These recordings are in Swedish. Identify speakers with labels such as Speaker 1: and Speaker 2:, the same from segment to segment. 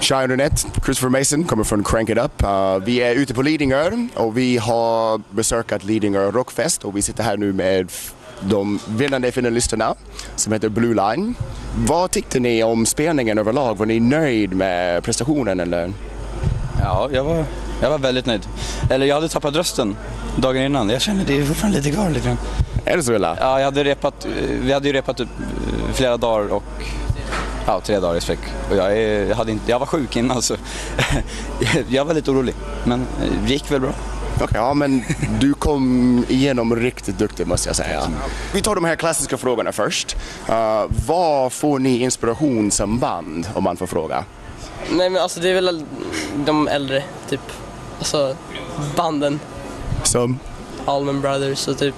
Speaker 1: Shia Runett, Christopher Mason kommer från Crank It Up. Uh, vi är ute på Lidingö och vi har besökat Lidingö Rockfest och vi sitter här nu med f- de vinnande finalisterna som heter Blue Line. Vad tyckte ni om spelningen överlag? Var ni nöjd med prestationen eller?
Speaker 2: Ja, jag var, jag var väldigt nöjd. Eller jag hade tappat rösten dagen innan. Jag känner det är fortfarande lite kvar lite grann.
Speaker 1: Är det så illa?
Speaker 2: Ja, jag hade repat, eh, vi hade ju repat typ eh, flera dagar och ja, tre dagar i sträck. Och jag, är, jag, hade inte, jag var sjuk innan så jag var lite orolig. Men eh, det gick väl bra.
Speaker 1: Okej, ja men du kom igenom riktigt duktig måste jag säga. Vi tar de här klassiska frågorna först. Uh, var får ni inspiration som band om man får fråga?
Speaker 3: Nej men alltså det är väl de äldre, typ. Alltså banden.
Speaker 1: Som?
Speaker 3: Allman Brothers och typ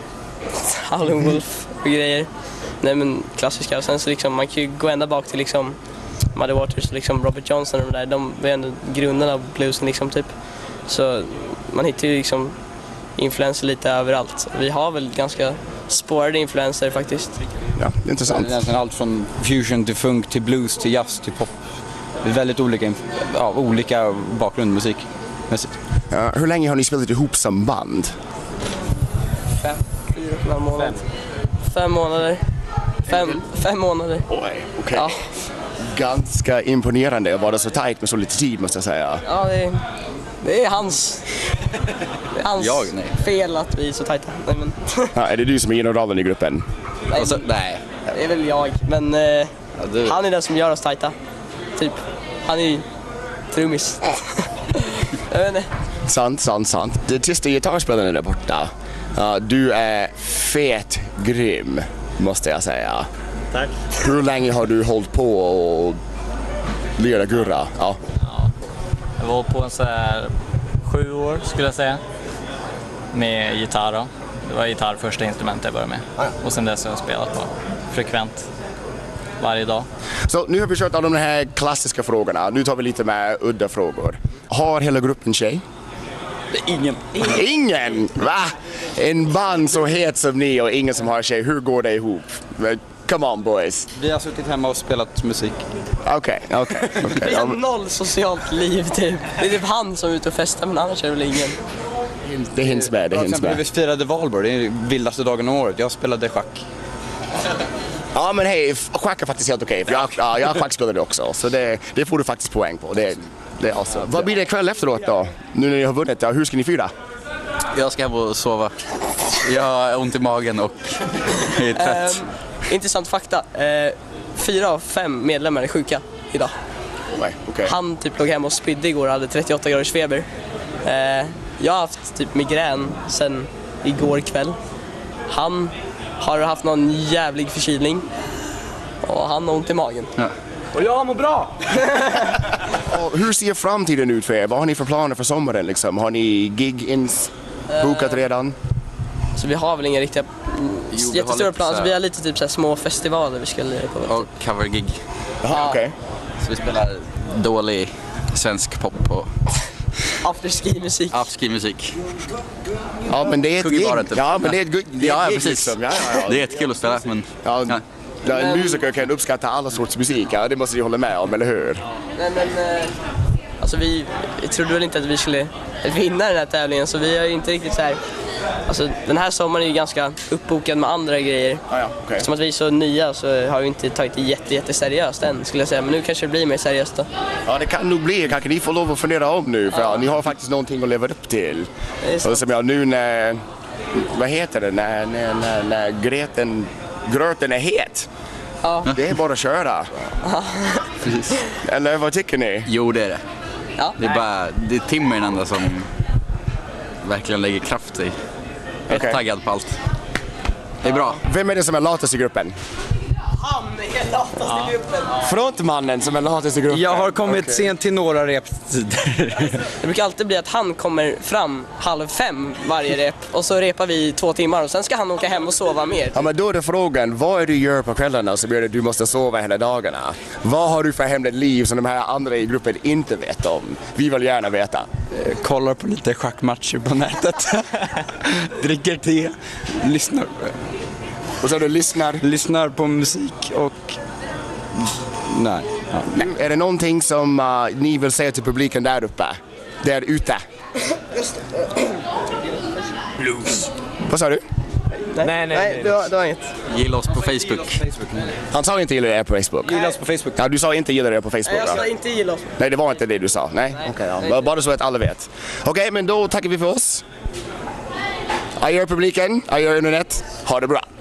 Speaker 3: Howlin' Wolf och grejer. Nej men klassiska. Och sen så liksom, man kan ju gå ända bak till liksom Muddy Waters och liksom Robert Johnson och de där. De var ju ändå grundarna av bluesen liksom typ. Så man hittar ju liksom influenser lite överallt. Vi har väl ganska spårade influenser faktiskt.
Speaker 1: Ja,
Speaker 2: Det är
Speaker 1: intressant.
Speaker 2: Egentligen allt från fusion till funk till blues till jazz till pop. Det är väldigt olika, inf- ja, olika bakgrund musikmässigt.
Speaker 1: Uh, hur länge har ni spelat ihop som band?
Speaker 3: Fem, fyra och en halv månad. Fem månader. Fem, fem månader.
Speaker 1: Oj, okej.
Speaker 3: Ja,
Speaker 1: Ganska imponerande att vara så tajt med så lite tid måste jag säga.
Speaker 3: ja det, är, det är hans, det är hans
Speaker 2: Jag? Nej.
Speaker 3: fel att vi är så tajta. Nej, men,
Speaker 1: Ja, är det du som är generalen i gruppen?
Speaker 3: nej,
Speaker 2: Och så, nej,
Speaker 3: det är väl jag. Men eh,
Speaker 2: Alltså- Ja, du-
Speaker 3: han är den som gör oss tajta. Typ. Han är ju trummis. jag vet inte.
Speaker 1: Sant, sant, sant. Den tysta gitarrspelaren är där borta. Uh, du är fet grym, måste jag säga.
Speaker 4: Tack.
Speaker 1: Hur länge har du hållit på och lira gurra? Ja.
Speaker 4: Jag var på en så här sju år skulle jag säga. Med gitarr då. Det var gitarr första instrumentet jag började med. Och sen dess har jag spelat på frekvent. Varje dag.
Speaker 1: Så nu har vi kört alla de här klassiska frågorna. Nu tar vi lite med udda frågor. Har hela gruppen tjej?
Speaker 2: ingen.
Speaker 1: Ingen! Va? En band så het som ni och ingen som har tjej. Hur går det ihop? Men, Come on boys.
Speaker 2: Vi har suttit hemma och spelat musik.
Speaker 1: Okej, okej. okej.
Speaker 3: Vi
Speaker 1: Ja,
Speaker 3: har
Speaker 1: men
Speaker 3: noll socialt liv typ. Det är typ han som är ute och festar men annars är det väl ingen.
Speaker 1: Det hinns med, det
Speaker 2: Till
Speaker 1: hinns
Speaker 2: exempel, vi
Speaker 1: med.
Speaker 2: firade valborg, det är den vildaste dagen om året. Jag spelade schack.
Speaker 1: Ja men hej, f- schack är faktiskt helt okej. för Jag, ja, jag schackspelade också. Så det, det får du faktiskt poäng på. Det, det är awesome. Vad blir det ikväll efteråt då? Nu när ni har vunnit, ja, hur ska ni fira?
Speaker 2: Jag ska hem och sova. Jag har ont i magen och är trött.
Speaker 3: Ehm, intressant fakta. Eh, fyra av fem medlemmar är sjuka idag.
Speaker 1: Nej, okej.
Speaker 3: Han typ låg hemma och spydde igår och hade 38 graders feber. Eh, jag har haft typ migrän sen igår kväll. Han har haft någon jävlig förkylning. Och han har ont i magen.
Speaker 1: Och Hur ser framtiden ut för er? Vad har ni för planer för sommaren? Liksom? Har ni gig ins bokat redan?
Speaker 3: Så vi har väl inga riktiga mm,
Speaker 2: Jo, vi har
Speaker 3: jättestora
Speaker 2: lite
Speaker 3: planer.
Speaker 2: så
Speaker 3: Så
Speaker 2: här-
Speaker 3: vi har lite typ så här små festivaler vi ska lira på.
Speaker 2: Och covergig.
Speaker 1: Jaha, okej.
Speaker 2: Så vi spelar dålig svensk pop och
Speaker 3: Afterski-musik.
Speaker 2: afterski-musik.
Speaker 1: Ja men det är ett
Speaker 2: Kugg i
Speaker 1: gig.
Speaker 2: baren, typ.
Speaker 1: Ja men det är ett, gu- det är ett
Speaker 2: Ja, ja,
Speaker 1: gig
Speaker 2: precis.
Speaker 1: liksom. Ja, ja, ja.
Speaker 2: Det är jättekul att spela men...
Speaker 1: Ja,
Speaker 2: Ja.
Speaker 1: ja, en musiker kan uppskatta alla sorts musik, ja, det måste ni hålla med om, eller hur?
Speaker 3: Nej men, eh, alltså vi vi trodde väl inte att vi skulle vinna den här tävlingen så vi har ju inte riktigt så här. Alltså den här sommaren är ju ganska uppbokad med andra grejer.
Speaker 1: Ja, ja, okej.
Speaker 3: Som att vi är så nya så har vi inte tagit det jätte, jätte seriöst än skulle jag säga. Men nu kanske det blir mer seriöst då.
Speaker 1: Ja, det kan nog bli. Kanske ni får lov att fundera om nu, för ja, ni har faktiskt någonting att leva upp till.
Speaker 3: Det är sant.
Speaker 1: Och som jag nu när, vad heter det, när, när, när, när gröten, gröten är het.
Speaker 3: Ja.
Speaker 1: Det är bara att köra.
Speaker 2: Precis.
Speaker 1: Eller vad tycker ni?
Speaker 2: Jo, det är det.
Speaker 3: Ja.
Speaker 2: Det är bara, det är Tim är den enda som verkligen lägger kraft i. Jag är
Speaker 1: Okej.
Speaker 2: taggad på allt. Det är bra.
Speaker 1: Vem är det som är latast i gruppen?
Speaker 3: Han är latast i gruppen.
Speaker 1: Frontmannen som är latast i gruppen.
Speaker 5: Jag har kommit sent till några reptider.
Speaker 3: Det brukar alltid bli att han kommer fram halv fem varje rep och så repar vi i två timmar och sen ska han åka hem och sova mer.
Speaker 1: Ja, men då är det frågan, vad är det du gör på kvällarna som gör att du måste sova hela dagarna? Vad har du för hemligt liv som de här andra i gruppen inte vet om? Vi vill gärna veta.
Speaker 2: Kollar på lite schackmatcher på nätet. Dricker te. Lyssnar,
Speaker 1: Och så du lyssnar.
Speaker 2: lyssnar på musik och... Nej.
Speaker 1: Nu, är det någonting som eh, ni vill säga till publiken där uppe? Där ute? Blues. Vad sa du?
Speaker 3: Nej,
Speaker 4: nej, nej.
Speaker 3: Du, har, du har inget.
Speaker 2: Gilla oss på Facebook.
Speaker 1: Han sa inte gilla er på Facebook.
Speaker 5: Gilla oss på Facebook.
Speaker 1: Ja, du sa inte gilla er på Facebook va?
Speaker 3: inte gilla oss.
Speaker 1: Nej, det var inte det du sa. Nej, okej. ja. Bara- Bara så att alla vet. Okej, men då tackar vi för oss. Adjö publiken, adjö internet. Ha det bra.